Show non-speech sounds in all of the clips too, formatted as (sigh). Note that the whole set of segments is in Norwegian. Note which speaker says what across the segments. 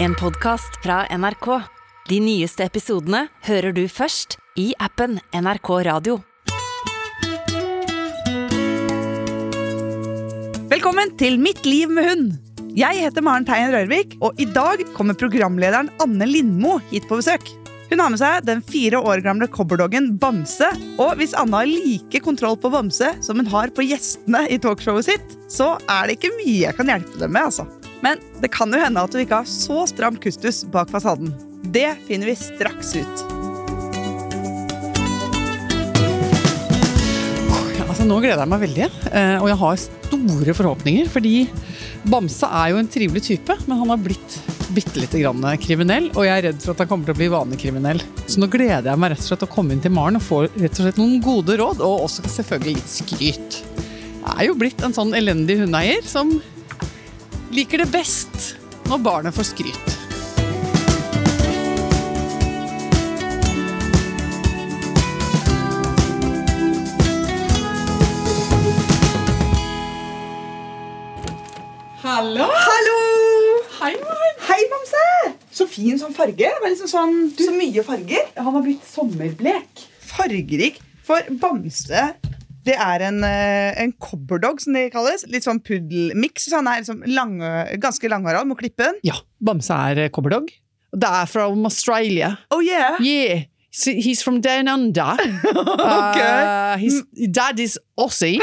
Speaker 1: En podcast fra NRK. De nyeste episodene hører du først i appen NRK Radio.
Speaker 2: Velkommen til Mitt liv med hund. Jeg heter Maren Teien Rørvik, og i dag kommer programlederen Anne Lindmo hit på besøk. Hun har med seg den fire år gamle cobberdoggen Bamse. Og hvis Anne har like kontroll på Bamse som hun har på gjestene i talkshowet sitt, så er det ikke mye jeg kan hjelpe dem med, altså. Men det kan jo hende at hun ikke har så stram kustus bak fasaden. Det finner vi straks ut.
Speaker 3: Altså, nå gleder jeg meg veldig, eh, og jeg har store forhåpninger. Fordi Bamse er jo en trivelig type, men han har blitt bitte lite grann kriminell. Og jeg er redd for at han kommer til å bli vanlig kriminell. Så nå gleder jeg meg rett og slett å komme inn til Maren og få rett og slett noen gode råd, og også selvfølgelig litt skryt. Jeg er jo blitt en sånn elendig hundeeier som liker det best når barnet får skryt. Hallo!
Speaker 2: Hallo!
Speaker 3: Hei, Maren!
Speaker 2: Hei, Bamse! Så fin sånn farge. Det var liksom sånn, Så mye farger.
Speaker 3: Han har blitt sommerblek.
Speaker 2: fargerik. For bamse det er en, eh, en cobberdog, som de kalles. Litt sånn puddelmiks. Så han er liksom lang, ganske langhåra, må klippe den.
Speaker 3: Ja, Bamse er eh, cobberdog. Det er fra Australia.
Speaker 2: Oh yeah!
Speaker 3: Yeah, so he's from down (laughs) under. Uh, his dad is Aussie.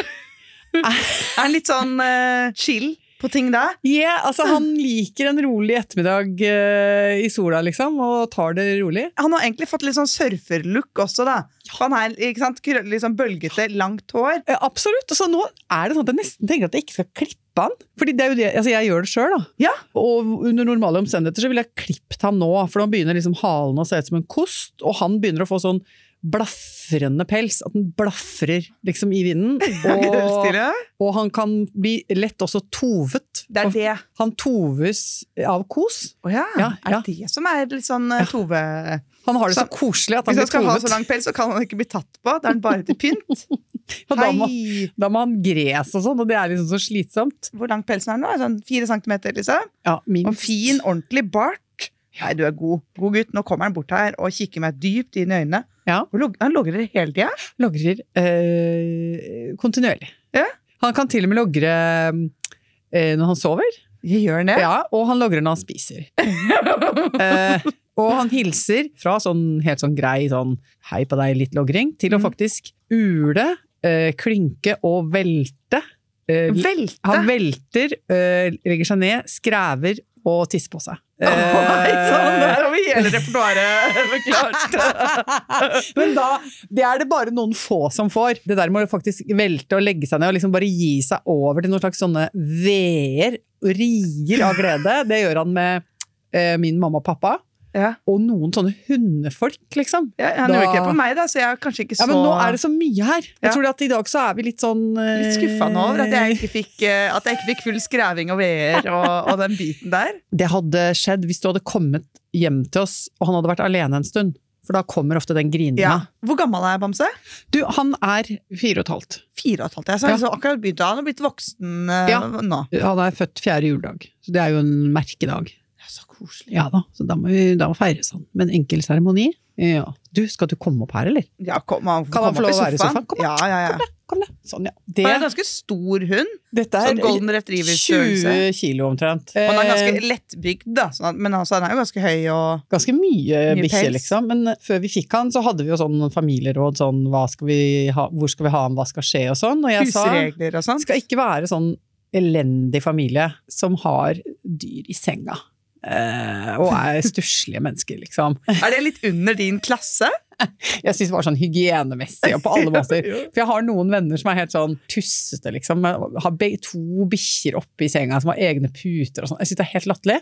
Speaker 2: Er han litt sånn eh, chill på ting da?
Speaker 3: Yeah, altså Han liker en rolig ettermiddag eh, i sola, liksom, og tar det rolig.
Speaker 2: Han har egentlig fått litt sånn surferlook også, da. For Han er ikke sant, krøll- litt sånn bølgete, langt hår.
Speaker 3: Eh, absolutt. Altså, nå er det sånn at jeg nesten tenker at jeg ikke skal klippe han. Fordi det er jo det, altså, Jeg gjør det sjøl, da.
Speaker 2: Ja.
Speaker 3: Og under normale omstendigheter så ville jeg klippet han nå, for nå begynner liksom halen å se ut som en kost, og han begynner å få sånn blafrende pels, at den blafrer liksom i (laughs) vinden. Og,
Speaker 2: Krøllstille.
Speaker 3: og han kan bli lett også tovet.
Speaker 2: Det er
Speaker 3: Og
Speaker 2: det.
Speaker 3: Han toves av kos.
Speaker 2: Å ja.
Speaker 3: Ja,
Speaker 2: Er
Speaker 3: ja.
Speaker 2: det det som er litt sånn eh, Tove
Speaker 3: Han har det så
Speaker 2: Så-
Speaker 3: koselig at han
Speaker 2: Hvis han
Speaker 3: blir
Speaker 2: skal ha sånn
Speaker 3: tovet.
Speaker 2: så lang pels, så kan han ikke bli tatt på. Da er han bare til pynt.
Speaker 3: (laughs) Og da, må,
Speaker 2: Hei!
Speaker 3: da må han gres og sånn, og det er liksom så slitsomt.
Speaker 2: Hvor lang pelsen er den nå? Er det Sånn fire centimeter, liksom?
Speaker 3: Ja, minst.
Speaker 2: Og en fin, ordentlig bart. Nei, du er god. God gutt. Nå kommer han bort her og kikker meg dypt inn i øynene.
Speaker 3: Ja.
Speaker 2: Og log- Han logrer hele tida.
Speaker 3: logrer eh, kontinuerlig.
Speaker 2: Ja.
Speaker 3: Han kan til og med logre eh, når han sover,
Speaker 2: Gjør han det?
Speaker 3: ja, og han logrer når han spiser. eh, og han hilser fra sånn helt sånn grei sånn hei på deg, litt logring, til å
Speaker 2: Mm.
Speaker 3: faktisk ule, eh, klinke og velte. Eh,
Speaker 2: (laughs) Velte! (laughs)
Speaker 3: han velter, eh, legger seg ned, skræver og tisser på seg.
Speaker 2: (laughs) Oi, sånn,
Speaker 3: Eh,
Speaker 2: der har vi hele repertoaret forklart.
Speaker 3: (laughs) Men da, det er det bare noen få som får. Det der må du faktisk velte og legge seg ned og liksom bare gi seg over til noen slags sånne veer og rier av glede. Det gjør han med eh, min mamma og pappa.
Speaker 2: Ja.
Speaker 3: Og noen sånne hundefolk, liksom.
Speaker 2: Ja, han
Speaker 3: Da-
Speaker 2: gjør ikke det på meg, da, så jeg er kanskje ikke så
Speaker 3: Ja, men nå er det så mye her.
Speaker 2: Ja.
Speaker 3: Jeg tror at i dag så er vi litt sånn eh,
Speaker 2: Litt skuffa nå over at jeg ikke fikk, eh, at jeg ikke fikk full skreving og veer og, og den biten der.
Speaker 3: Det hadde skjedd hvis du hadde kommet hjem til oss, og han hadde vært alene en stund. For da kommer ofte den grininga.
Speaker 2: Ja. Hvor gammel er Bamse?
Speaker 3: Du, han er fire og et halvt.
Speaker 2: Fire og et halvt. Jeg sa
Speaker 3: Ja.
Speaker 2: altså, akkurat begynt, Han har blitt voksen eh,
Speaker 3: Ja.
Speaker 2: nå.
Speaker 3: Han er født fjerde juledag, så det er jo en merkedag.
Speaker 2: Ja, så koselig.
Speaker 3: Ja da, så da må, vi, da må feires han. Med en enkel seremoni. Ja. Du, skal du komme opp her, eller?
Speaker 2: Ja, kom, han,
Speaker 3: Kan han
Speaker 2: opp
Speaker 3: få
Speaker 2: i
Speaker 3: lov å være i sofaen? Kom,
Speaker 2: Ja, ja, ja.
Speaker 3: Kom da. Sånn, ja.
Speaker 2: Han er en
Speaker 3: Det,
Speaker 2: ganske stor hund.
Speaker 3: dette
Speaker 2: Sånn
Speaker 3: er
Speaker 2: golden
Speaker 3: 20
Speaker 2: retriever-størrelse.
Speaker 3: kilo omtrent.
Speaker 2: Og Han er
Speaker 3: Eh,
Speaker 2: ganske lettbygd, da, sånn at, men altså, han er jo ganske høy og
Speaker 3: ganske mye,
Speaker 2: mye
Speaker 3: bikkje,
Speaker 2: pels.
Speaker 3: liksom. Men eh, før vi fikk han, så hadde vi jo sånn familieråd, sånn hva skal vi ha, hvor skal vi ha han, hva skal skje, og sånn. Og jeg sa
Speaker 2: husregler og sånn.
Speaker 3: det skal ikke være sånn elendig familie som har dyr i senga. eh, og er stusslige mennesker, liksom.
Speaker 2: Er det litt under din klasse?
Speaker 3: Jeg syns det var sånn hygienemessig og på (laughs) alle måter.
Speaker 2: Ja, ja.
Speaker 3: For jeg har noen venner som er helt sånn tussete, liksom. Har be- to bikkjer oppe i senga som har egne puter og sånn. Jeg syns det er helt latterlig.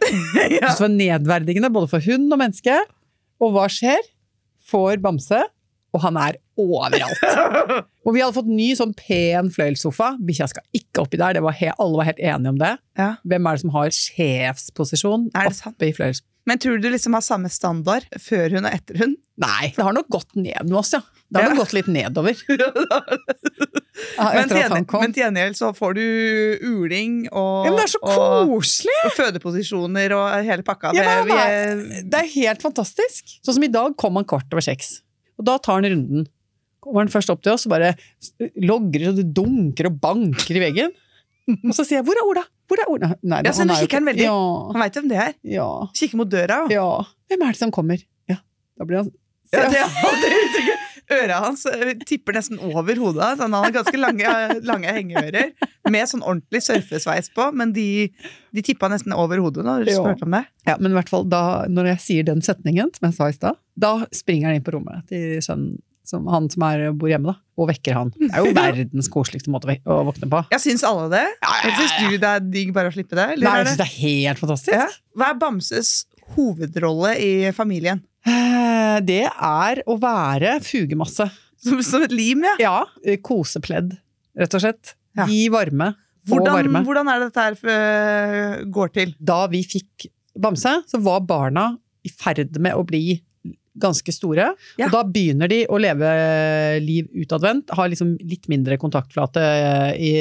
Speaker 2: (laughs)
Speaker 3: Jeg
Speaker 2: ja.
Speaker 3: (laughs) synes det var nedverdigende både for hund og menneske. Og hva skjer? Får bamse, og han er overalt. Og vi hadde fått ny sånn pen fløyelssofa. Bikkja skal ikke oppi der, det var he alle var helt enige om det.
Speaker 2: Ja.
Speaker 3: Hvem er det som har sjefsposisjon
Speaker 2: Er det sant?
Speaker 3: oppe i fløyels...
Speaker 2: Men tror du du liksom har samme standard før hun og etter hun?
Speaker 3: Nei, det har nok gått ned med oss, ja. Det
Speaker 2: (laughs)
Speaker 3: har
Speaker 2: Ja.
Speaker 3: (laughs) nok gått litt nedover. Ja,
Speaker 2: Men til
Speaker 3: etter at han
Speaker 2: gjengjeld-
Speaker 3: kom.
Speaker 2: men til gjengjeld så får du uling og,
Speaker 3: Ja, men det er så
Speaker 2: og,
Speaker 3: koselig!
Speaker 2: og fødeposisjoner og hele pakka.
Speaker 3: Ja,
Speaker 2: Det- vi
Speaker 3: nei,
Speaker 2: er-
Speaker 3: Det er helt fantastisk. Sånn som i dag kom han kvart over seks. Og da tar han runden. Kommer han først opp til oss og bare logrer og det dunker og banker i veggen. Og så sier jeg 'Hvor er Ola?' Hvor er Ola? Nei,
Speaker 2: Ja,
Speaker 3: da-
Speaker 2: så nå
Speaker 3: er jo
Speaker 2: kikker han
Speaker 3: ikke-
Speaker 2: veldig.
Speaker 3: Ja,
Speaker 2: Han veit hvem det er.
Speaker 3: ja,
Speaker 2: Kikker mot døra. og-
Speaker 3: ja. Hvem er det som kommer? Ja, da blir han
Speaker 2: (laughs) Ja, det, det uttrykket. Øra hans eh, tipper nesten over hodet. hans. han har ganske lange, (laughs) lange hengeører med sånn ordentlig surfesveis på, men de, de tippa nesten over hodet når du
Speaker 3: Ja.
Speaker 2: spurte om det.
Speaker 3: Ja, men i hvert fall da, når jeg sier den setningen, som jeg sa i stad, da springer han inn på rommet til sønnen, som, han som er, bor hjemme, da, og vekker han. Det (laughs) er jo verdens koseligste måte å vek- å våkne på.
Speaker 2: Jeg syns alle det.
Speaker 3: Ja, ja,
Speaker 2: Eller syns du det er digg bare å slippe det?
Speaker 3: Nei,
Speaker 2: Eller
Speaker 3: jeg
Speaker 2: er
Speaker 3: synes
Speaker 2: det?
Speaker 3: det er helt fantastisk.
Speaker 2: Ja. Hva er Bamses hovedrolle i familien?
Speaker 3: Eh, Det er å være fugemasse.
Speaker 2: Som, som et lim, ja.
Speaker 3: Ja, eh, kosepledd, rett og slett.
Speaker 2: Ja.
Speaker 3: Gi varme, få
Speaker 2: Hvordan,
Speaker 3: varme.
Speaker 2: hvordan er det dette her eh, går til?
Speaker 3: Da vi fikk Bamse, så var barna i ferd med å bli ganske store.
Speaker 2: Ja.
Speaker 3: Og da begynner de å leve liv utadvendt, har liksom litt mindre kontaktflate eh, i,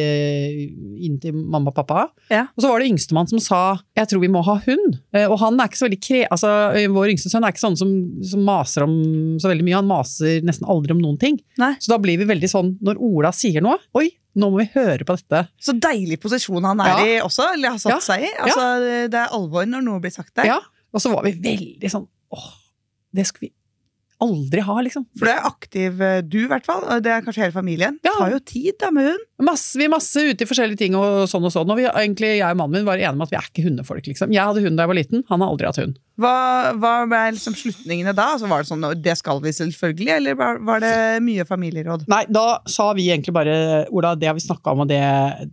Speaker 3: inn til mamma og pappa.
Speaker 2: Ja.
Speaker 3: Og så var det yngstemann som sa 'jeg tror vi må ha hund'. Eh, Og han er ikke så veldig kre... Altså, eh, vår yngste sønn er ikke sånn som, som maser om så veldig mye, han maser nesten aldri om noen ting.
Speaker 2: Nei.
Speaker 3: Så da blir vi veldig sånn når Ola sier noe 'oi, nå må vi høre på dette'.
Speaker 2: Så deilig posisjon han er
Speaker 3: Ja.
Speaker 2: i også, eller har satt
Speaker 3: Ja.
Speaker 2: seg i. Altså, Det er alvor når noe blir sagt der.
Speaker 3: Ja. Og så var vi veldig sånn åh, det skulle vi aldri ha, liksom.
Speaker 2: For det er aktiv eh, du, i hvert fall. og Det er kanskje hele familien.
Speaker 3: Ja.
Speaker 2: Tar jo tid da med hund.
Speaker 3: Masse, vi er masse ute i forskjellige ting og sånn og sånn. Og vi, egentlig, jeg og mannen min var enige om at vi er ikke hundefolk, liksom. Jeg hadde hund da jeg var liten, han har aldri hatt hund.
Speaker 2: Hva, hva ble liksom slutningene da? Altså, var det sånn det skal vi selvfølgelig, eller var, var det mye familieråd?
Speaker 3: Nei, da sa vi egentlig bare Ola, det har vi snakka om, og det,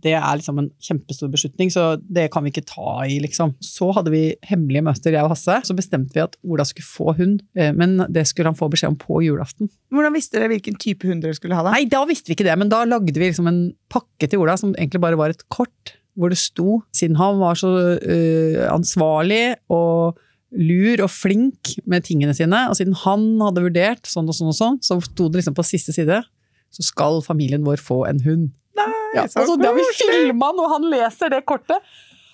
Speaker 3: det er liksom en kjempestor beslutning, så det kan vi ikke ta i, liksom. Så hadde vi hemmelige møter, jeg og Hasse. Så bestemte vi at Ola skulle få hund, eh, men det skulle han få beskjed om på julaften.
Speaker 2: Hvordan visste dere hvilken type hund dere skulle ha? da?
Speaker 3: Nei, da visste vi ikke det, men da lagde vi liksom en pakke til Ola som egentlig bare var et kort, hvor det sto, siden han var så øh, ansvarlig og lur og flink med tingene sine, og siden han hadde vurdert sånn og sånn og sånn, så sto det liksom på siste side, så skal familien vår få en hund. Ja,
Speaker 2: så
Speaker 3: altså, da vi filma han, og han leser det kortet,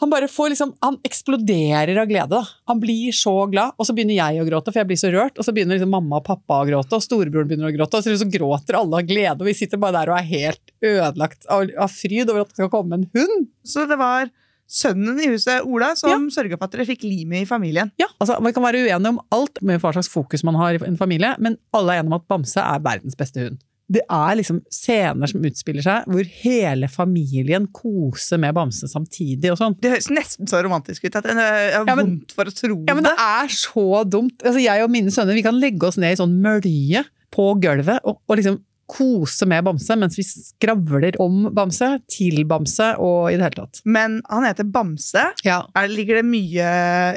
Speaker 3: han bare får liksom, han eksploderer av glede. da. Han blir så glad, og så begynner jeg å gråte, for jeg blir så rørt. Og så begynner liksom mamma og pappa å gråte, og storebroren begynner å gråte. Og så, så gråter alle av glede, og vi sitter bare der og er helt ødelagt av, av fryd over at det skal komme en hund.
Speaker 2: Så det var sønnen i huset, Ola, som sørga for at dere fikk limet i familien.
Speaker 3: Ja, altså Man kan være uenig om alt med hva slags fokus man har i en familie, men alle er enige om at Bamse er verdens beste hund. Det er liksom scener som utspiller seg, hvor hele familien koser med Bamse samtidig og sånn.
Speaker 2: Det høres nesten så romantisk ut at jeg jeg har
Speaker 3: Ja, men-
Speaker 2: vondt for å tro
Speaker 3: Ja, men det er så dumt. Altså, jeg og mine sønner vi kan legge oss ned i sånn mølje på gulvet og, og liksom kose med Bamse mens vi skravler om Bamse, til Bamse og i det hele tatt.
Speaker 2: det. Men han heter Bamse.
Speaker 3: Ja.
Speaker 2: Er, ligger det mye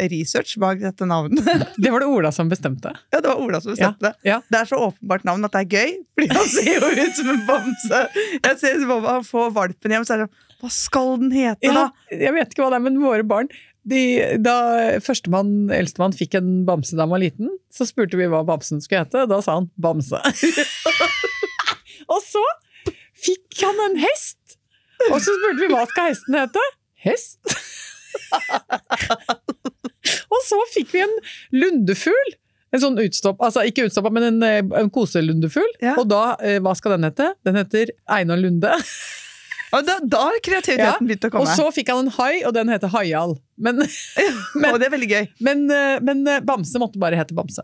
Speaker 2: research bak dette navnet? (laughs)
Speaker 3: Det var det Ola som bestemte.
Speaker 2: Ja, det var Ola som bestemte det.
Speaker 3: ja.
Speaker 2: Det er så åpenbart navn at det er gøy, fordi han (laughs) ser jo ut som en bamse. Jeg ser ut som om han får valpen hjem, så er det sånn Hva skal den hete,
Speaker 3: Ja,
Speaker 2: da?
Speaker 3: jeg vet ikke hva det er, men våre barn de, Da førstemann, eldstemann, fikk en bamse da han var liten, så spurte vi hva bamsen skulle hete. Da sa han Bamse. (laughs) og så fikk han en hest! Og så spurte vi hva skal hesten hete? Hest. (laughs) og så fikk vi en lundefugl. En sånn utstopp, altså ikke utstoppa, men en, eh, en koselundefugl.
Speaker 2: Ja.
Speaker 3: Og da, eh, hva skal den hete? Den heter Einar Lunde.
Speaker 2: Og da? Da har kreativiteten begynt å
Speaker 3: Og
Speaker 2: komme. Og,
Speaker 3: så fikk han en hai, og den heter Haial. Men, men,
Speaker 2: det er veldig gøy.
Speaker 3: men, eh, men eh, Bamse måtte bare hete Bamse.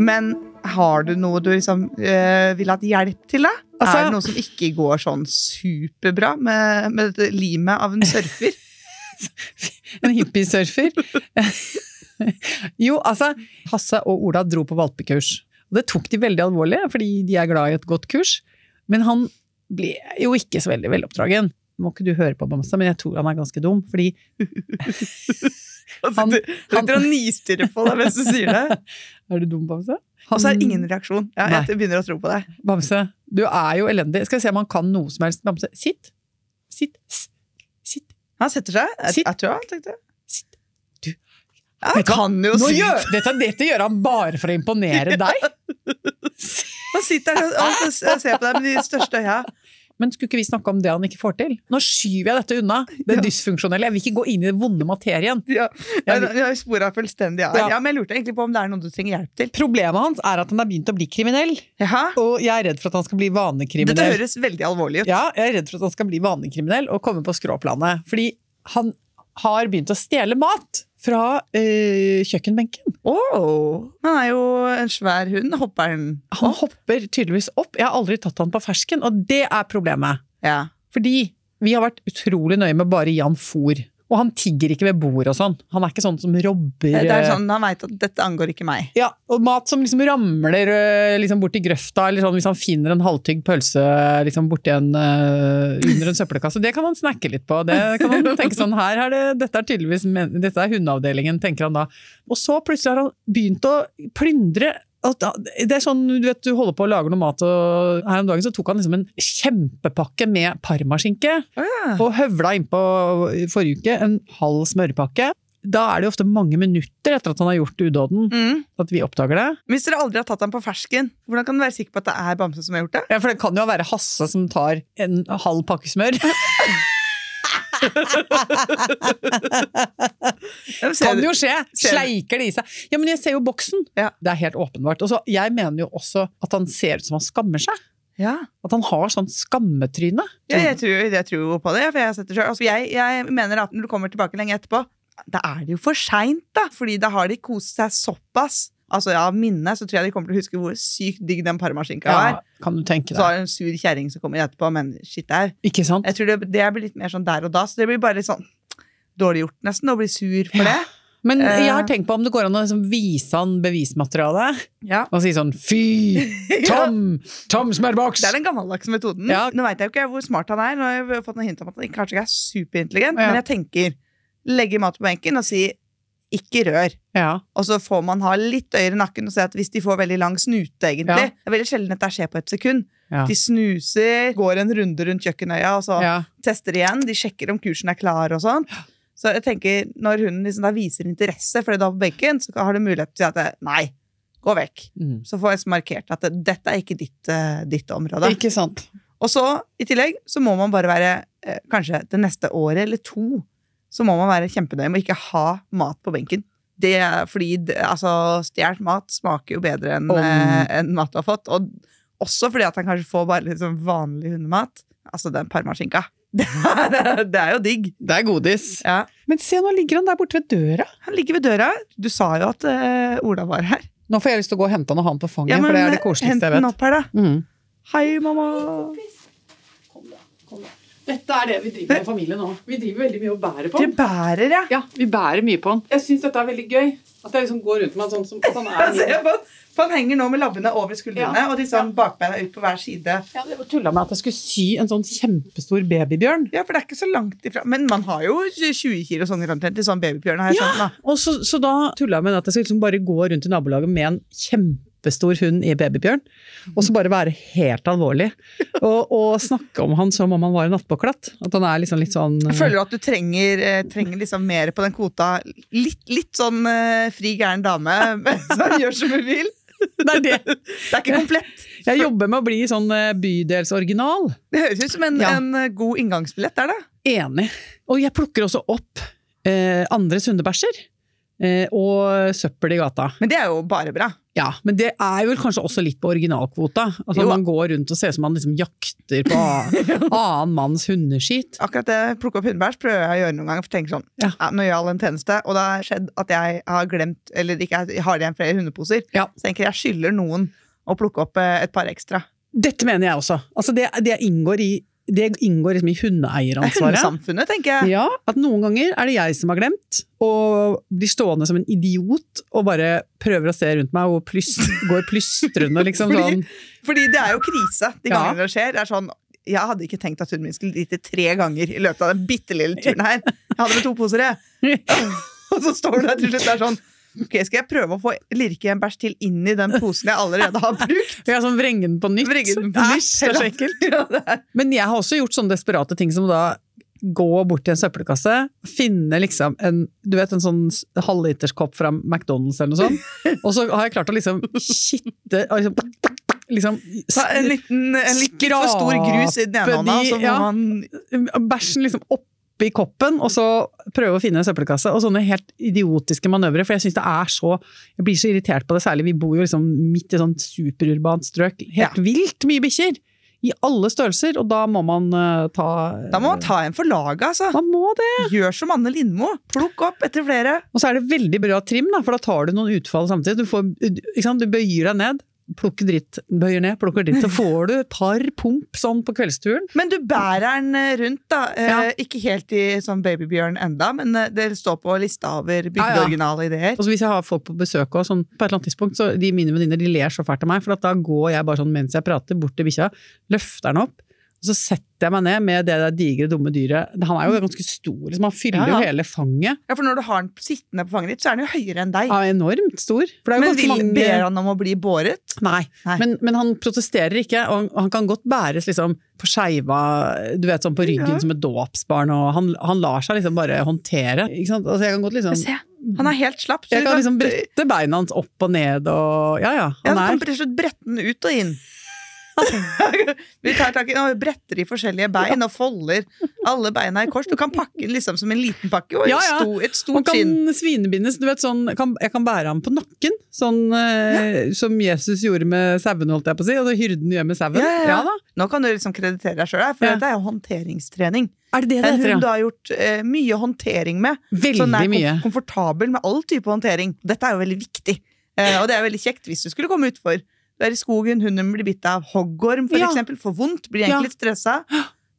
Speaker 2: Men har du noe du liksom eh, vil hatt hjelp til, da?
Speaker 3: Altså-
Speaker 2: er det noe som ikke går sånn superbra med, med dette limet av en (laughs) surfer?
Speaker 3: En hippiesurfer. (laughs) jo, altså, Hasse og Ola dro på valpekurs. Og det tok de veldig alvorlig, fordi de er glad i et godt kurs. Men han ble jo ikke så veldig veloppdragen. Må ikke du høre på Bamse, men jeg tror han er ganske dum. Fordi
Speaker 2: Altså,
Speaker 3: Han-
Speaker 2: du
Speaker 3: han-
Speaker 2: sitter og nistirrer på deg mens du sier det,
Speaker 3: Er du dum, Bamse?
Speaker 2: og så Altså, er det
Speaker 3: Han-
Speaker 2: ingen reaksjon. Ja, jeg begynner å tro på deg.
Speaker 3: Bamse, du er jo elendig. Skal vi se om han kan noe som helst. Bamse, sitt. Sitt. S- Sitt.
Speaker 2: Han setter seg. Jeg,
Speaker 3: Sitt.
Speaker 2: jeg tror han tenkte
Speaker 3: Sitt. Du,
Speaker 2: Jeg kan jo
Speaker 3: Nå
Speaker 2: si
Speaker 3: gjør, dette, dette gjør han bare for å imponere deg.
Speaker 2: Han sitter her og
Speaker 3: (laughs)
Speaker 2: og ser på deg med de største øya.
Speaker 3: Men skulle ikke vi snakke om det han ikke får til? Nå skyver jeg dette unna. Det
Speaker 2: Ja.
Speaker 3: dysfunksjonelle. Jeg vil ikke gå inn i den vonde materien.
Speaker 2: Ja,
Speaker 3: Jeg
Speaker 2: jeg,
Speaker 3: vil-
Speaker 2: jeg sporet fullstendig av.
Speaker 3: Ja.
Speaker 2: Ja. men jeg lurte egentlig på om det er noe du trenger hjelp til.
Speaker 3: Problemet hans er at han har begynt å bli kriminell.
Speaker 2: Jaha?
Speaker 3: Og jeg er redd for at han skal bli
Speaker 2: Dette
Speaker 3: vanekriminell.
Speaker 2: høres veldig alvorlig ut.
Speaker 3: Ja, jeg er redd for at han skal bli vanekriminell og komme på skråplanet. Fordi han har begynt å stjele mat fra eh, kjøkkenbenken.
Speaker 2: Åh, han er jo en svær hund, hopper han.
Speaker 3: Han hopper tydeligvis opp. Jeg har aldri tatt han på fersken, og det er problemet.
Speaker 2: Ja.
Speaker 3: Fordi vi har vært utrolig nøye med å bare å gi han fôr. Og han tigger ikke ved bord og sånn. Han er ikke sånn som robber
Speaker 2: Det er
Speaker 3: eh,
Speaker 2: sånn, han vet at dette angår ikke meg.
Speaker 3: Ja, og mat som liksom ramler øh, liksom bort i grøfta, eller sånn hvis han finner en halvtygg pølse liksom borti en øh, under en søppelkasse. Det kan han snakke litt på. Det kan han tenke sånn, her er det, Dette er tydeligvis men, dette er hundeavdelingen, tenker han da. Og så plutselig har han begynt å plyndre. Og da- Det er sånn, Du vet, du holder på å lage noe mat, og her om dagen så tok han liksom en kjempepakke med parmaskinke.
Speaker 2: Å ja.
Speaker 3: Og høvla innpå forrige uke en halv smørpakke. Da er det jo ofte mange minutter etter at han har gjort udåden,
Speaker 2: Mm.
Speaker 3: at vi oppdager det.
Speaker 2: Hvis dere aldri har tatt ham på fersken, hvordan kan du være sikker på at det er Bamse som har gjort det?
Speaker 3: Ja, For det kan jo være Hasse som tar en halv pakke smør. (laughs)
Speaker 2: Ja, men ser
Speaker 3: Kan
Speaker 2: du-
Speaker 3: jo skje!
Speaker 2: Ser du-
Speaker 3: Sleiker det i seg. Ja, men jeg ser jo boksen.
Speaker 2: Ja.
Speaker 3: Det er helt åpenbart. Og så, jeg mener jo også at han ser ut som han skammer seg.
Speaker 2: Ja.
Speaker 3: At han har sånn skammetryne.
Speaker 2: Ja, jeg, tror, jeg tror jo på det, for jeg har sett det selv. Altså, jeg, jeg mener at når du kommer tilbake lenge etterpå, da er det jo for seint, da. Fordi da har de kost seg såpass. Altså, ja, Av minnet så tror jeg de kommer til å huske hvor sykt digg den parmaskinka var.
Speaker 3: Ja, kan du tenke
Speaker 2: Så
Speaker 3: deg.
Speaker 2: har du en sur kjerring som kommer etterpå, men shit au.
Speaker 3: Ikke sant?
Speaker 2: Jeg tror det, det blir litt mer sånn der og da, så det blir bare litt sånn dårlig gjort nesten å bli sur for det.
Speaker 3: Men
Speaker 2: Eh.
Speaker 3: jeg har tenkt på om det går an å liksom vise han bevismateriale
Speaker 2: Ja.
Speaker 3: og si sånn fy,
Speaker 2: (laughs)
Speaker 3: Tom, Tom smørboks!
Speaker 2: Det er den gammeldagse metoden.
Speaker 3: Ja.
Speaker 2: Nå veit jeg jo ikke hvor smart han er. Nå har jeg fått noen hint om at han ikke- kanskje ikke er superintelligent,
Speaker 3: Ja.
Speaker 2: men jeg tenker legge mat på benken og si ikke rør.
Speaker 3: Ja.
Speaker 2: Og så får man ha litt øyre i nakken og se at hvis de får veldig lang snute, egentlig
Speaker 3: Ja.
Speaker 2: Det er veldig sjelden at det skjer på et sekund.
Speaker 3: Ja.
Speaker 2: De snuser, går en runde rundt kjøkkenøya, og så
Speaker 3: ja.
Speaker 2: tester igjen. De sjekker om kursen er klar og sånn. Så jeg tenker, når hunden liksom da viser interesse for det du har på benken, så har du mulighet til å si at det, nei, gå vekk.
Speaker 3: Mm.
Speaker 2: Så får jeg markert at det, dette er ikke ditt, eh, ditt område.
Speaker 3: Ikke sant.
Speaker 2: Og så, i tillegg, så må man bare være, eh, kanskje det neste året eller to, så må man være kjempenøye med å ikke ha mat på benken. Det er fordi, det- altså, stjålet mat smaker jo bedre enn
Speaker 3: Om.
Speaker 2: eh, enn mat du har fått. Og også fordi at han kanskje får bare liksom vanlig hundemat. Altså den parmaskinka. (laughs) Det er, det er jo digg.
Speaker 3: Det er godis.
Speaker 2: Ja.
Speaker 3: Men se, nå ligger han der borte ved døra.
Speaker 2: Han ligger ved døra. Du sa jo at eh, Ola var her.
Speaker 3: Nå får jeg lyst til å gå og hente han og ha han på fanget,
Speaker 2: Ja,
Speaker 3: for det er det
Speaker 2: eh, hent
Speaker 3: koseligste jeg
Speaker 2: den
Speaker 3: vet.
Speaker 2: opp her, da.
Speaker 3: Mm.
Speaker 2: Hei, mamma.
Speaker 3: Dette er det vi driver med i familien nå. Vi driver veldig mye og bærer på
Speaker 2: Dere
Speaker 3: den.
Speaker 2: bærer, ja.
Speaker 3: Ja, vi bærer mye på den. Jeg syns dette er veldig gøy. At jeg liksom går rundt med han sånn som at (laughs) han
Speaker 2: (laughs)
Speaker 3: er
Speaker 2: Altså, Jeg ser på han. For han henger nå med labbene over skuldrene
Speaker 3: Ja.
Speaker 2: og disse bakbeina ut på hver side.
Speaker 3: Ja, det var tulla med at jeg skulle sy en sånn kjempestor babybjørn.
Speaker 2: Ja, for det er ikke så langt ifra. Men man har jo 20 kilo sånn omtrent i sånn babybjørn. Har jeg
Speaker 3: Ja.
Speaker 2: skjønt, da.
Speaker 3: Og så, så da tulla jeg med at jeg skulle liksom bare gå rundt i nabolaget med en kjempestor hund i babybjørn. Og så bare være helt alvorlig. Og, og snakke om han som om han var en nattpåklatt. At han er liksom litt sånn eh,
Speaker 2: Føler du at du trenger, eh, trenger liksom mer på den kvota? Litt, litt sånn eh, fri gæren dame (laughs) som gjør som hun vil?
Speaker 3: Det er det.
Speaker 2: Det er ikke komplett.
Speaker 3: Jeg jobber med å bli sånn eh, bydelsoriginal.
Speaker 2: Det høres ut som en,
Speaker 3: Ja.
Speaker 2: en eh, god inngangsbillett der, da.
Speaker 3: Enig. Og jeg plukker også opp eh, andres hundebæsjer. Eh, og søppel i gata.
Speaker 2: Men det er jo bare bra.
Speaker 3: Ja, Men det er vel kanskje også litt på originalkvota. Altså
Speaker 2: Jo.
Speaker 3: Man går rundt og ser ut som man liksom jakter på annen- annen manns hundeskit.
Speaker 2: Akkurat det plukke opp hundebæsj prøver jeg å gjøre noen ganger. For jeg tenker sånn,
Speaker 3: Ja.
Speaker 2: ja. Nå gjør jeg all en tjeneste, og det har skjedd at jeg har glemt eller ikke har igjen flere hundeposer.
Speaker 3: Ja.
Speaker 2: Så tenker jeg jeg skylder noen å plukke opp eh, et par ekstra.
Speaker 3: Dette mener jeg også. Altså det, det inngår i, det inngår liksom i
Speaker 2: Det er (laughs)
Speaker 3: hundeeieransvaret.
Speaker 2: Hundesamfunnet, tenker jeg.
Speaker 3: Ja, At noen ganger er det jeg som har glemt, og blir stående som en idiot og bare prøver å se rundt meg og plyst, går plystrende, liksom
Speaker 2: Fordi-
Speaker 3: sånn.
Speaker 2: Fordi det er jo krise de
Speaker 3: Ja.
Speaker 2: gangene det skjer. Det er sånn, jeg hadde ikke tenkt at hunden min skulle drite tre ganger i løpet av den bitte lille turen her. Jeg hadde med to poser,
Speaker 3: (laughs)
Speaker 2: jeg. Og så står du der til slutt der sånn Ok, skal jeg prøve å få lirke en bæsj til inn i den posen jeg allerede har brukt?
Speaker 3: Ja, sånn vrenge den på nytt.
Speaker 2: Vrenge den på nytt.
Speaker 3: Æsj, det er så ekkelt.
Speaker 2: (laughs) Ja, det er
Speaker 3: Men jeg har også gjort sånne desperate ting som da gå bort til en søppelkasse, finne liksom en, du vet, en sånn s- halvliterskopp fra McDonald's eller
Speaker 2: (laughs)
Speaker 3: noe sånt, og så har jeg klart å liksom kitte og liksom, liksom
Speaker 2: Ta en liten, en litt litt for stor grus i den ene
Speaker 3: Skrape
Speaker 2: hånda,
Speaker 3: de-
Speaker 2: så må
Speaker 3: ja.
Speaker 2: man
Speaker 3: bæsjen liksom oppi koppen, og så prøve å finne en søppelkasse. Og sånne helt idiotiske manøvrer, for jeg synes det er så Jeg blir så irritert på det, særlig vi bor jo liksom midt i sånn superurbant strøk. Helt vilt mye bikkjer! I alle størrelser, og da må man eh, ta
Speaker 2: Da må man ta en for laget, altså.
Speaker 3: Man må det!
Speaker 2: Gjør som Anne Lindmo. Plukk opp etter flere.
Speaker 3: Og så er det veldig bra trim, da, for da tar du noen utfall samtidig. Du, får, ikke sant? du bøyer deg ned, plukker dritt, bøyer ned, plukker dritt. Så får du et par pump sånn på kveldsturen.
Speaker 2: Men du bærer den eh, rundt, da. Eh,
Speaker 3: Ja.
Speaker 2: Ikke helt i sånn babybjørn enda, men eh, det står på lista over
Speaker 3: Ja, ja.
Speaker 2: bygdeoriginale ideer.
Speaker 3: Og så hvis jeg har folk på besøk også, sånn, på et eller annet tidspunkt, så de mine venninner de ler så fælt av meg, for at da går jeg bare sånn mens jeg prater, bort til bikkja, løfter den opp, og så setter jeg meg ned med det der digre, dumme dyret. Han er jo ganske stor, liksom. han fyller
Speaker 2: Ja, ja.
Speaker 3: jo hele fanget.
Speaker 2: Ja, For når du har den sittende på fanget ditt, så er den jo høyere enn deg.
Speaker 3: Han er enormt stor. For det er jo
Speaker 2: Men
Speaker 3: ganske
Speaker 2: vil,
Speaker 3: mange...
Speaker 2: ber han om å bli båret?
Speaker 3: Nei,
Speaker 2: Nei.
Speaker 3: Men, men han protesterer ikke, og han, og han kan godt bæres liksom på skeiva, du vet sånn på ryggen
Speaker 2: Ja.
Speaker 3: som et dåpsbarn, og han, han lar seg liksom bare håndtere. Ikke sant? Altså jeg kan godt liksom...
Speaker 2: Se, han er helt slapp. så du
Speaker 3: Jeg kan liksom brette beina hans opp og ned, og ja, ja.
Speaker 2: Ja,
Speaker 3: Han
Speaker 2: du
Speaker 3: er
Speaker 2: kan til slutt brette den ut og
Speaker 3: (laughs)
Speaker 2: inn. Vi tar tak i og bretter i forskjellige bein og folder alle beina i kors. Du kan pakke den liksom som en liten pakke og
Speaker 3: Ja, ja.
Speaker 2: et sto- et
Speaker 3: Man
Speaker 2: stort skinn.
Speaker 3: kan svinebindes. Du vet, sånn, kan, jeg kan bære ham på nakken, sånn eh, som Jesus gjorde med sauen, holdt jeg på å si. Altså hyrden gjør med sauen.
Speaker 2: Ja, ja, ja.
Speaker 3: da.
Speaker 2: Nå kan du liksom kreditere deg sjøl, for
Speaker 3: Ja.
Speaker 2: dette er jo håndteringstrening.
Speaker 3: Er det det det
Speaker 2: En
Speaker 3: heter,
Speaker 2: hund du
Speaker 3: ja?
Speaker 2: har gjort eh, mye håndtering med. Så den
Speaker 3: Veldig
Speaker 2: er kom-
Speaker 3: mye.
Speaker 2: komfortabel med all type håndtering. Dette er jo veldig viktig. Eh, og det er veldig kjekt hvis du skulle komme utfor. Du er i skogen, hunden blir bitt av hoggorm for
Speaker 3: Ja.
Speaker 2: eksempel, får vondt, blir
Speaker 3: Ja.
Speaker 2: egentlig litt stressa.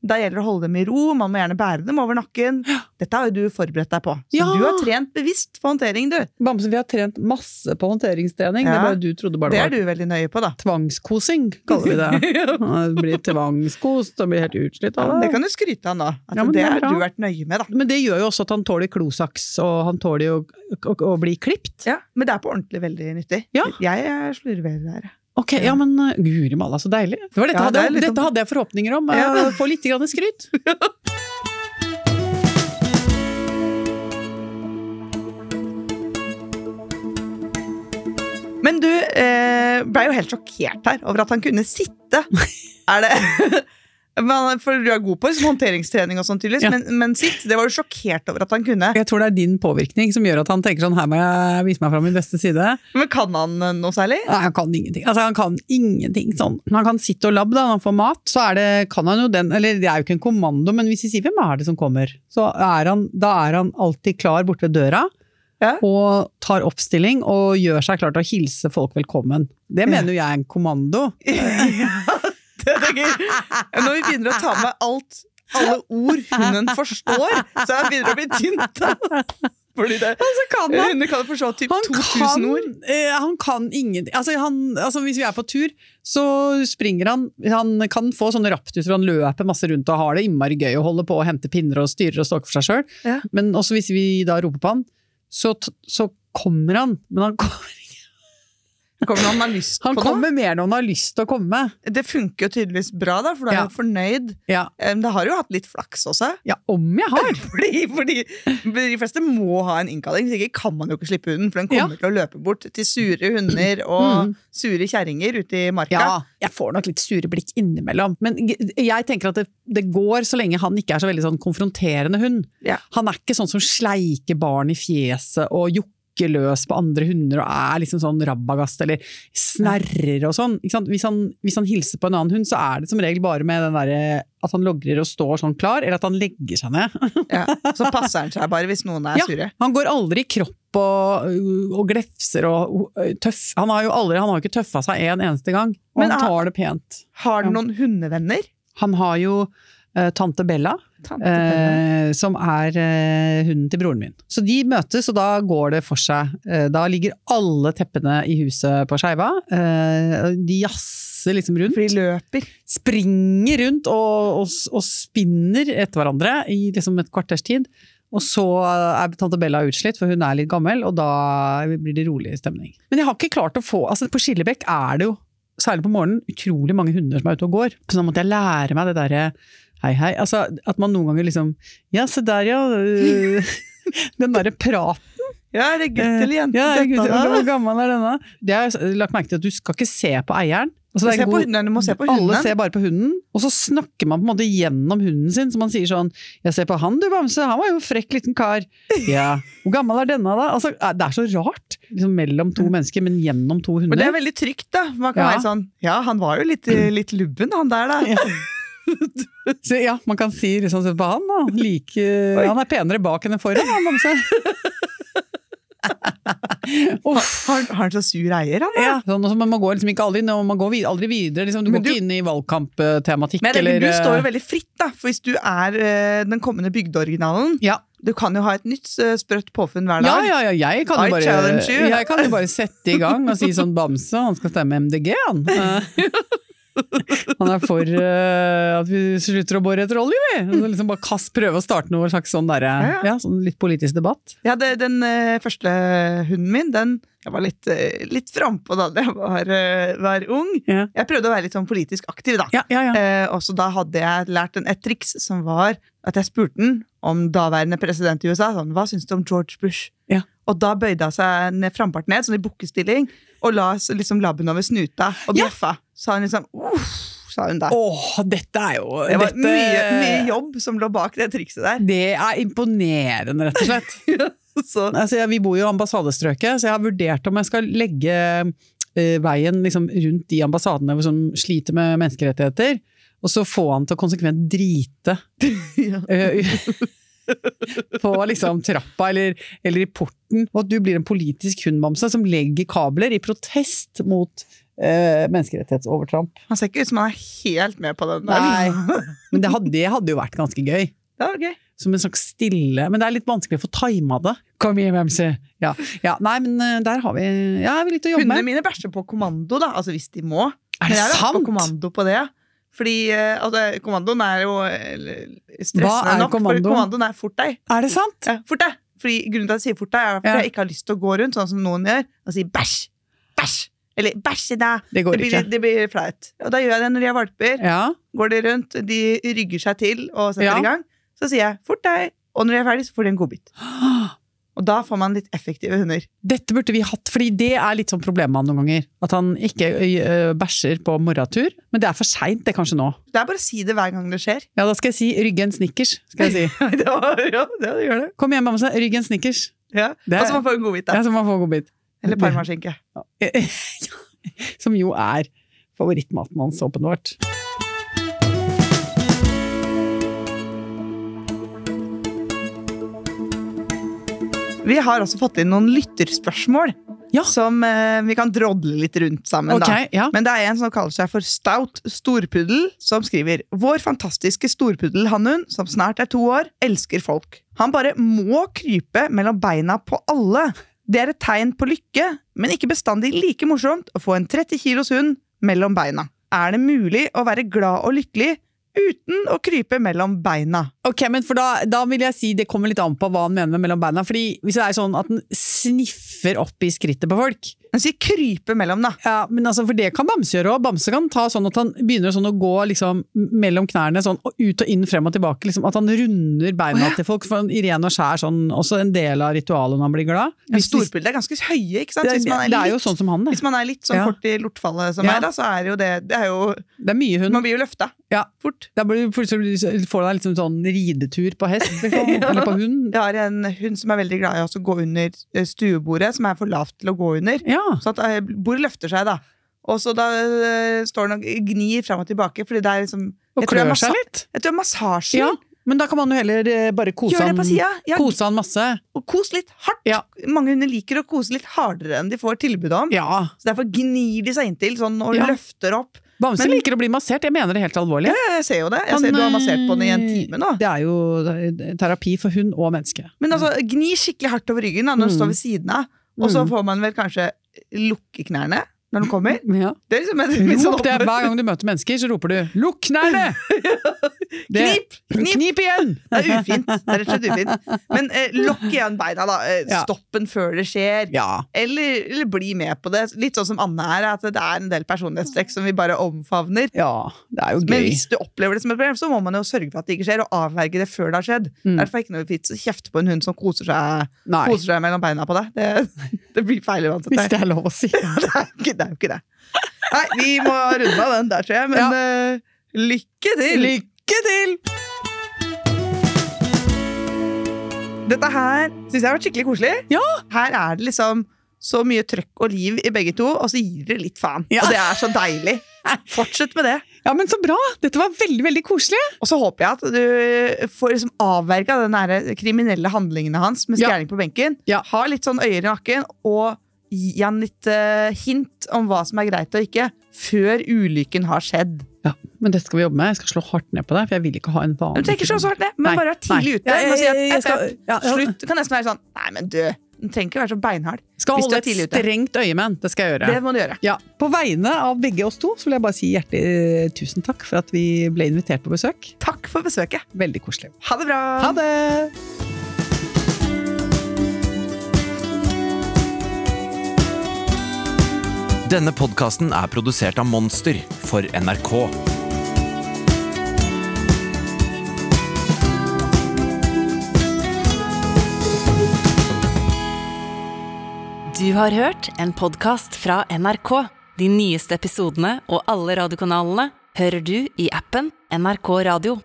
Speaker 2: Da gjelder det å holde dem i ro, man må gjerne bære dem over nakken. Dette har jo du forberedt deg på. Så
Speaker 3: Ja.
Speaker 2: du har trent bevisst på håndtering, du.
Speaker 3: Bamse, vi har trent masse på håndteringstrening. Det
Speaker 2: Ja.
Speaker 3: er bare du trodde bare
Speaker 2: Det
Speaker 3: det
Speaker 2: er
Speaker 3: var
Speaker 2: du veldig nøye på, da.
Speaker 3: tvangskosing, kaller vi
Speaker 2: (laughs)
Speaker 3: det. Han blir tvangskost og blir helt utslitt
Speaker 2: Ja,
Speaker 3: av
Speaker 2: men
Speaker 3: det.
Speaker 2: det kan du skryte av nå. At
Speaker 3: Ja, men
Speaker 2: det
Speaker 3: det er
Speaker 2: har
Speaker 3: bra.
Speaker 2: du vært nøye med, da.
Speaker 3: Men det gjør jo også at han tåler klosaks, og han tåler jo å, å, å bli klipt.
Speaker 2: Ja, men det er på ordentlig veldig nyttig.
Speaker 3: Ja.
Speaker 2: Jeg eh, slurverer her.
Speaker 3: Ok, ja, men uh, guri malla, så deilig. Det var dette,
Speaker 2: Ja,
Speaker 3: hadde,
Speaker 2: det er litt
Speaker 3: jeg-
Speaker 2: om-
Speaker 3: dette hadde jeg forhåpninger om.
Speaker 2: Ja.
Speaker 3: Uh, Få litt grann skryt.
Speaker 2: Men du eh, ble jo helt sjokkert her over at han kunne
Speaker 3: (laughs)
Speaker 2: sitte. Er det (laughs) Men- For du er god på liksom, håndteringstrening og sånn, tydeligvis,
Speaker 3: Ja.
Speaker 2: men, men sitt, det var du sjokkert over at han kunne.
Speaker 3: Jeg tror det er din påvirkning som gjør at han tenker sånn her må jeg vise meg fra min beste side.
Speaker 2: Men kan han eh, noe særlig?
Speaker 3: (laughs) Nei, han kan ingenting. Altså, han kan ingenting sånn. Når han kan sitte og labbe da, når han får mat, så er det, kan han jo den, eller det er jo ikke en kommando, men hvis vi sier hvem er det som kommer, så er han, da er han alltid klar borte ved døra,
Speaker 2: Ja.
Speaker 3: og tar oppstilling og gjør seg klar til å hilse folk velkommen. Det mener jo jeg er en kommando.
Speaker 2: Ja, det er gøy. Når vi begynner å ta med alt, alle ord hunden forstår, så jeg begynner å bli tynt. (laughs) Fordi det,
Speaker 3: Så kan
Speaker 2: hunder kan forstå typ 2000 ord.
Speaker 3: eh, han kan ingenting. Altså, han, altså, hvis vi er på tur, så springer han. Han kan få sånne raptuser, han løper masse rundt og har det innmari gøy å holde på og hente pinner og styrer og stalker for seg sjøl.
Speaker 2: Ja.
Speaker 3: Men også hvis vi da roper på han, så, t- så kommer han. Men han, kom-
Speaker 2: Kommer når han har lyst på
Speaker 3: han
Speaker 2: noe.
Speaker 3: kommer mer når han har lyst til å komme.
Speaker 2: Det funker jo tydeligvis bra, da, for da er
Speaker 3: Ja.
Speaker 2: han fornøyd.
Speaker 3: Ja,
Speaker 2: Eh, Men det har jo hatt litt flaks også.
Speaker 3: ja om jeg har!
Speaker 2: (laughs) Fordi, fordi de fleste må ha en innkalling, hvis ikke kan man jo ikke slippe hunden. For den kommer til å løpe bort til sure hunder og
Speaker 3: Mm.
Speaker 2: sure kjerringer ute i marka.
Speaker 3: Ja, jeg får nok litt sure blikk innimellom. Men g- jeg tenker at det, det går så lenge han ikke er så veldig sånn konfronterende hund.
Speaker 2: Ja.
Speaker 3: Han er ikke sånn som sleiker barn i fjeset og jokker løs på andre hunder og er liksom sånn rabagast eller snerrer og sånn. Ikke sant? Hvis, han, hvis han hilser på en annen hund, så er det som regel bare med den derre at han logrer og står sånn klar, eller at han legger seg ned.
Speaker 2: Ja, Så passer han seg bare hvis noen er
Speaker 3: Ja.
Speaker 2: sure.
Speaker 3: Han går aldri i kropp og, øh, og glefser og og tøff. Han har jo aldri, han har jo ikke tøffa seg en eneste gang. Og
Speaker 2: Men
Speaker 3: han
Speaker 2: han-
Speaker 3: tar det pent.
Speaker 2: Har den
Speaker 3: Ja.
Speaker 2: noen hundevenner?
Speaker 3: Han har jo eh, tante Bella,
Speaker 2: Tante Pelle.
Speaker 3: eh, som er eh, hunden til broren min. Så de møtes, og da går det for seg. Eh, da ligger alle teppene i huset på skeiva. Eh, og de jazzer liksom rundt.
Speaker 2: Eh, For de løper.
Speaker 3: Springer rundt og, og, og spinner etter hverandre i liksom et kvarters tid. Og så er tante Bella utslitt, for hun er litt gammel, og da blir det rolig stemning. Men jeg har ikke klart å få altså På Skillebekk er det jo, særlig på morgenen, utrolig mange hunder som er ute og går. Så da måtte jeg lære meg det derre Hei, hei. Altså, at man noen ganger liksom Ja, se der, ja. øh, (laughs) Den derre praten.
Speaker 2: Ja, er det gutt eller jente?
Speaker 3: Eh, Ja,
Speaker 2: dette,
Speaker 3: gud,
Speaker 2: da?
Speaker 3: hvor gammel er denne? Det har jeg lagt merke til at du skal ikke se på eieren. Altså, det er
Speaker 2: Se
Speaker 3: en
Speaker 2: på
Speaker 3: god-
Speaker 2: hundene, du må se på
Speaker 3: Alle
Speaker 2: hundene.
Speaker 3: ser bare på hunden, og så snakker man på en måte gjennom hunden sin. Så man sier sånn 'Jeg ser på han du, Bamse, han var jo en frekk
Speaker 2: (laughs)
Speaker 3: liten kar'. Ja, Hvor gammel er denne, da? Altså, eh, det er så rart. Liksom mellom to mennesker, men gjennom to
Speaker 2: Men det er
Speaker 3: hunder.
Speaker 2: veldig trygt, da. Man kan
Speaker 3: Ja.
Speaker 2: være sånn Ja, han var jo litt, litt lubben, han der, da.
Speaker 3: Så, ja, Man kan si liksom, se på han, da. Like, han er penere bak enn foran, han Bamse.
Speaker 2: (laughs)
Speaker 3: Uff.
Speaker 2: (laughs) Har, har han så sur eier, han? da?
Speaker 3: Ja. Sånn, og så man må gå liksom ikke aldri, nå, man går vid- aldri videre. Liksom, du
Speaker 2: Men
Speaker 3: går
Speaker 2: du-
Speaker 3: ikke inn i valgkamptematikk.
Speaker 2: Men jeg
Speaker 3: eller,
Speaker 2: tenker, du står
Speaker 3: eh,
Speaker 2: jo veldig fritt, da. For hvis du er eh, den kommende bygdeoriginalen,
Speaker 3: ja,
Speaker 2: du kan jo ha et nytt eh, sprøtt påfunn hver
Speaker 3: Ja,
Speaker 2: dag.
Speaker 3: ja, ja, jeg kan,
Speaker 2: I
Speaker 3: jo bare,
Speaker 2: challenge you.
Speaker 3: jeg kan jo bare sette i gang og si sånn Bamse, han skal stemme MDG,
Speaker 2: (laughs)
Speaker 3: han. Eh, Han er for eh, at vi slutter å bore etter olje, vi! Så liksom bare kast, prøve å starte noe slags sånn derre
Speaker 2: Ja, ja.
Speaker 3: ja, sånn litt politisk debatt.
Speaker 2: Jeg hadde den eh, første hunden min, den Jeg var litt, uh, litt frampå da jeg var, eh, var ung.
Speaker 3: Ja.
Speaker 2: Jeg prøvde å være litt sånn politisk aktiv, da.
Speaker 3: Ja, ja, ja.
Speaker 2: Eh, og så da hadde jeg lært en, et triks som var at jeg spurte den om daværende president i USA sånn, hva syns du om George Bush.
Speaker 3: Ja.
Speaker 2: Og da bøyde hun seg ned, framparten ned, sånn i bukkestilling, og la s- liksom labben over snuta og
Speaker 3: Ja.
Speaker 2: bjeffa. Så han liksom uff, sa hun da.
Speaker 3: Åh, dette er jo
Speaker 2: det var
Speaker 3: dette,
Speaker 2: mye, mye jobb som lå bak det trikset
Speaker 3: (laughs)
Speaker 2: der.
Speaker 3: Det er imponerende, rett og slett.
Speaker 2: (laughs) Så,
Speaker 3: altså, jeg- vi bor jo i ambassadestrøket, så jeg har vurdert om jeg skal legge eh, veien liksom, rundt de ambassadene som sliter med menneskerettigheter, og så få han til å konsekvent drite
Speaker 2: ja.
Speaker 3: eh, (laughs) på liksom, trappa eller, eller i porten. Og at du blir en politisk hundbamse som legger kabler i protest mot eh, menneskerettighetsovertramp.
Speaker 2: Han ser ikke ut som han er helt med på den.
Speaker 3: Nei.
Speaker 2: Der.
Speaker 3: Men det hadde, det hadde jo vært ganske gøy.
Speaker 2: (laughs) Det var gøy.
Speaker 3: Som en slags stille Men det er litt vanskelig å få tima det. Kom hjem, MC! Ja. ja, nei, men eh, der har vi Ja, vi har litt å jobbe
Speaker 2: Hundene
Speaker 3: med.
Speaker 2: mine bæsjer på kommando, da. Altså hvis de må.
Speaker 3: Er
Speaker 2: Men
Speaker 3: det
Speaker 2: jeg har vært på
Speaker 3: sant?!
Speaker 2: kommando på det. Fordi eh, altså, kommandoen er jo eh,
Speaker 3: Hva
Speaker 2: stressende
Speaker 3: er
Speaker 2: nok.
Speaker 3: kommandoen?
Speaker 2: For kommandoen er fort deg.
Speaker 3: Er det sant?!
Speaker 2: Ja, fort deg. Fordi grunnen til at jeg sier fort deg, er fordi
Speaker 3: Ja.
Speaker 2: jeg ikke har lyst til å gå rundt sånn som noen gjør, og si bæsj, bæsj, eller bæsj i deg.
Speaker 3: Det
Speaker 2: Det
Speaker 3: går
Speaker 2: blir,
Speaker 3: ikke.
Speaker 2: det blir flaut. Og da gjør jeg det når de er valper.
Speaker 3: Ja.
Speaker 2: Går de rundt, de rygger seg til og setter
Speaker 3: Ja.
Speaker 2: i gang. Så sier jeg fort deg, og når de er ferdig, så får de en godbit. Og da får man litt effektive hunder.
Speaker 3: Dette burde vi hatt, fordi det er litt sånn problemet med han noen ganger. At han ikke ø, ø, bæsjer på morgentur. Men det er for seint, det, kanskje nå.
Speaker 2: Det er bare å si det hver gang det skjer. (laughs)
Speaker 3: Ja, da skal jeg si 'rygge en snickers'. Skal jeg si.
Speaker 2: det var, ja, det (laughs) gjør det.
Speaker 3: Kom igjen, bamse, rygg en snickers.
Speaker 2: Ja.
Speaker 3: Det er-
Speaker 2: Og så man får en godbit, da.
Speaker 3: Ja, så man får godbit.
Speaker 2: Eller parmaskinke.
Speaker 3: (laughs) Som jo er favorittmaten hans, åpenbart.
Speaker 2: Vi har også fått inn noen lytterspørsmål
Speaker 3: Ja.
Speaker 2: som eh, vi kan drodle litt rundt sammen.
Speaker 3: Ok, ja.
Speaker 2: Da. Men det er en som kaller seg for Stout Storpuddel, som skriver Vår fantastiske storpuddelhannhund, som snart er to år, elsker folk. Han bare må krype mellom beina på alle. Det er et tegn på lykke, men ikke bestandig like morsomt å få en 30 kilos hund mellom beina. Er det mulig å være glad og lykkelig uten å krype mellom beina?
Speaker 3: Ok, men for da, da vil jeg si det kommer litt an på hva han mener med mellom beina. Fordi hvis det er sånn at den sniffer opp i skrittet på folk
Speaker 2: Han sier krype mellom, da.
Speaker 3: Ja, men altså, for det kan Bamse gjøre òg. Bamse kan ta sånn at han begynner sånn å gå liksom mellom knærne, sånn og ut og inn, frem og tilbake. Liksom, at han runder beina til folk. For han, I ren og skjær sånn, også en del av ritualet når han blir glad.
Speaker 2: Men
Speaker 3: Hvis- hvis-
Speaker 2: storpudel er ganske høye, ikke sant? Så
Speaker 3: det,
Speaker 2: hvis man
Speaker 3: er,
Speaker 2: er
Speaker 3: det er jo
Speaker 2: litt-
Speaker 3: sånn som han, det.
Speaker 2: Hvis man er litt sånn
Speaker 3: Ja.
Speaker 2: kort i lortfallet som
Speaker 3: Ja.
Speaker 2: er, da, så er jo det, det er jo,
Speaker 3: Det er mye hund.
Speaker 2: Man blir jo løfta
Speaker 3: Ja.
Speaker 2: fort.
Speaker 3: Da blir du plutselig så får du deg liksom sånn ridetur
Speaker 2: (laughs)
Speaker 3: på hest, liksom, eller på hund.
Speaker 2: Jeg har en hund som er veldig glad i å gå under eh, stuebordet, som er for lavt til å gå under.
Speaker 3: Ja.
Speaker 2: Så at eh, bordet løfter seg, da. Og så da eh, står den og gnir fram og tilbake, fordi det er liksom
Speaker 3: Og
Speaker 2: jeg tror det er
Speaker 3: klør seg
Speaker 2: massa-
Speaker 3: litt.
Speaker 2: Jeg tror det er massasjen.
Speaker 3: Ja, men da kan man jo heller eh, bare kose
Speaker 2: Gjør det på
Speaker 3: han,
Speaker 2: sida. Ja,
Speaker 3: kose han masse.
Speaker 2: og kos litt hardt.
Speaker 3: Ja.
Speaker 2: Mange hunder liker å kose litt hardere enn de får tilbud om.
Speaker 3: Ja.
Speaker 2: Så Derfor gnir de seg inntil sånn, og
Speaker 3: Ja.
Speaker 2: løfter opp.
Speaker 3: Bamse
Speaker 2: Men-
Speaker 3: liker å bli massert. Jeg mener det helt alvorlig.
Speaker 2: Jeg ser jo det. Jeg
Speaker 3: Han,
Speaker 2: ser Du har massert
Speaker 3: eh,
Speaker 2: på den i en time nå.
Speaker 3: Det er jo terapi for hund og menneske.
Speaker 2: Men altså, gni skikkelig hardt over ryggen da, når du
Speaker 3: Mm.
Speaker 2: står ved siden av. Og så
Speaker 3: Mm.
Speaker 2: får man vel kanskje lukke knærne. når de kommer.
Speaker 3: Ja.
Speaker 2: Det er liksom en litt sånn
Speaker 3: Rop det er,
Speaker 2: åpen-
Speaker 3: hver gang du møter mennesker, så roper du 'lukk (laughs) knærne'! Det-
Speaker 2: Knip! Knip!
Speaker 3: Knip igjen!
Speaker 2: Det er ufint. Det er rett og slett ufint. Men eh, lokk igjen beina, da. Eh,
Speaker 3: Ja.
Speaker 2: Stopp den før det skjer.
Speaker 3: Ja.
Speaker 2: Eller, eller bli med på det. Litt sånn som Anne er, at det er en del personlighetstrekk som vi bare omfavner.
Speaker 3: Ja, det er jo
Speaker 2: Men
Speaker 3: gøy.
Speaker 2: hvis du opplever det som et problem, så må man jo sørge for at det ikke skjer, og avverge det før det har skjedd.
Speaker 3: Mm.
Speaker 2: Derfor er det ikke noe vits å kjefte på en hund som koser seg,
Speaker 3: Nei,
Speaker 2: koser seg mellom beina på deg. Det, (laughs) det blir feil uansett.
Speaker 3: hvis det er lov å si.
Speaker 2: Det er jo ikke det. Er jo ikke det. Nei, vi må runde av den der, tror jeg. Men
Speaker 3: Ja.
Speaker 2: eh, lykke til!
Speaker 3: (laughs) Lykke til!
Speaker 2: Dette her syns jeg har vært skikkelig koselig.
Speaker 3: Ja.
Speaker 2: Her er det liksom så mye trøkk og liv i begge to, og så gir dere litt faen.
Speaker 3: Ja.
Speaker 2: Og det er så deilig. Fortsett med det.
Speaker 3: Ja, men så bra! Dette var veldig, veldig koselig.
Speaker 2: Og så håper jeg at du får liksom avverga den der kriminelle handlingene hans med
Speaker 3: Ja.
Speaker 2: skjæring på benken.
Speaker 3: Ja.
Speaker 2: Ha litt sånn øyer i nakken, og gi han litt eh, hint om hva som er greit og ikke, før ulykken har skjedd.
Speaker 3: Ja, men dette skal vi jobbe med. Jeg skal slå hardt ned på deg, for jeg vil ikke ha en vanlig
Speaker 2: Du trenger ikke så hardt ned, men
Speaker 3: Nei,
Speaker 2: bare være tidlig
Speaker 3: nei.
Speaker 2: ute.
Speaker 3: Ja,
Speaker 2: Bare si at,
Speaker 3: jeg- jeg- jeg skal-
Speaker 2: «Epp, epp,
Speaker 3: ja, ja.
Speaker 2: Slutt. Det kan nesten være sånn Nei, men du, du trenger ikke være så beinhard.
Speaker 3: Skal
Speaker 2: Hvis du er
Speaker 3: holde et
Speaker 2: tidlig ute.
Speaker 3: strengt øye med den. Det skal jeg gjøre.
Speaker 2: Det må du gjøre.
Speaker 3: Ja, På vegne av begge oss to så vil jeg bare si hjertelig eh, tusen takk for at vi ble invitert på besøk.
Speaker 2: Takk for besøket.
Speaker 3: Veldig koselig.
Speaker 2: Ha det bra!
Speaker 3: Ha det!
Speaker 4: Denne podkasten er produsert av Monster for NRK.
Speaker 1: Du har hørt en podkast fra NRK. De nyeste episodene og alle radiokanalene hører du i appen NRK Radio.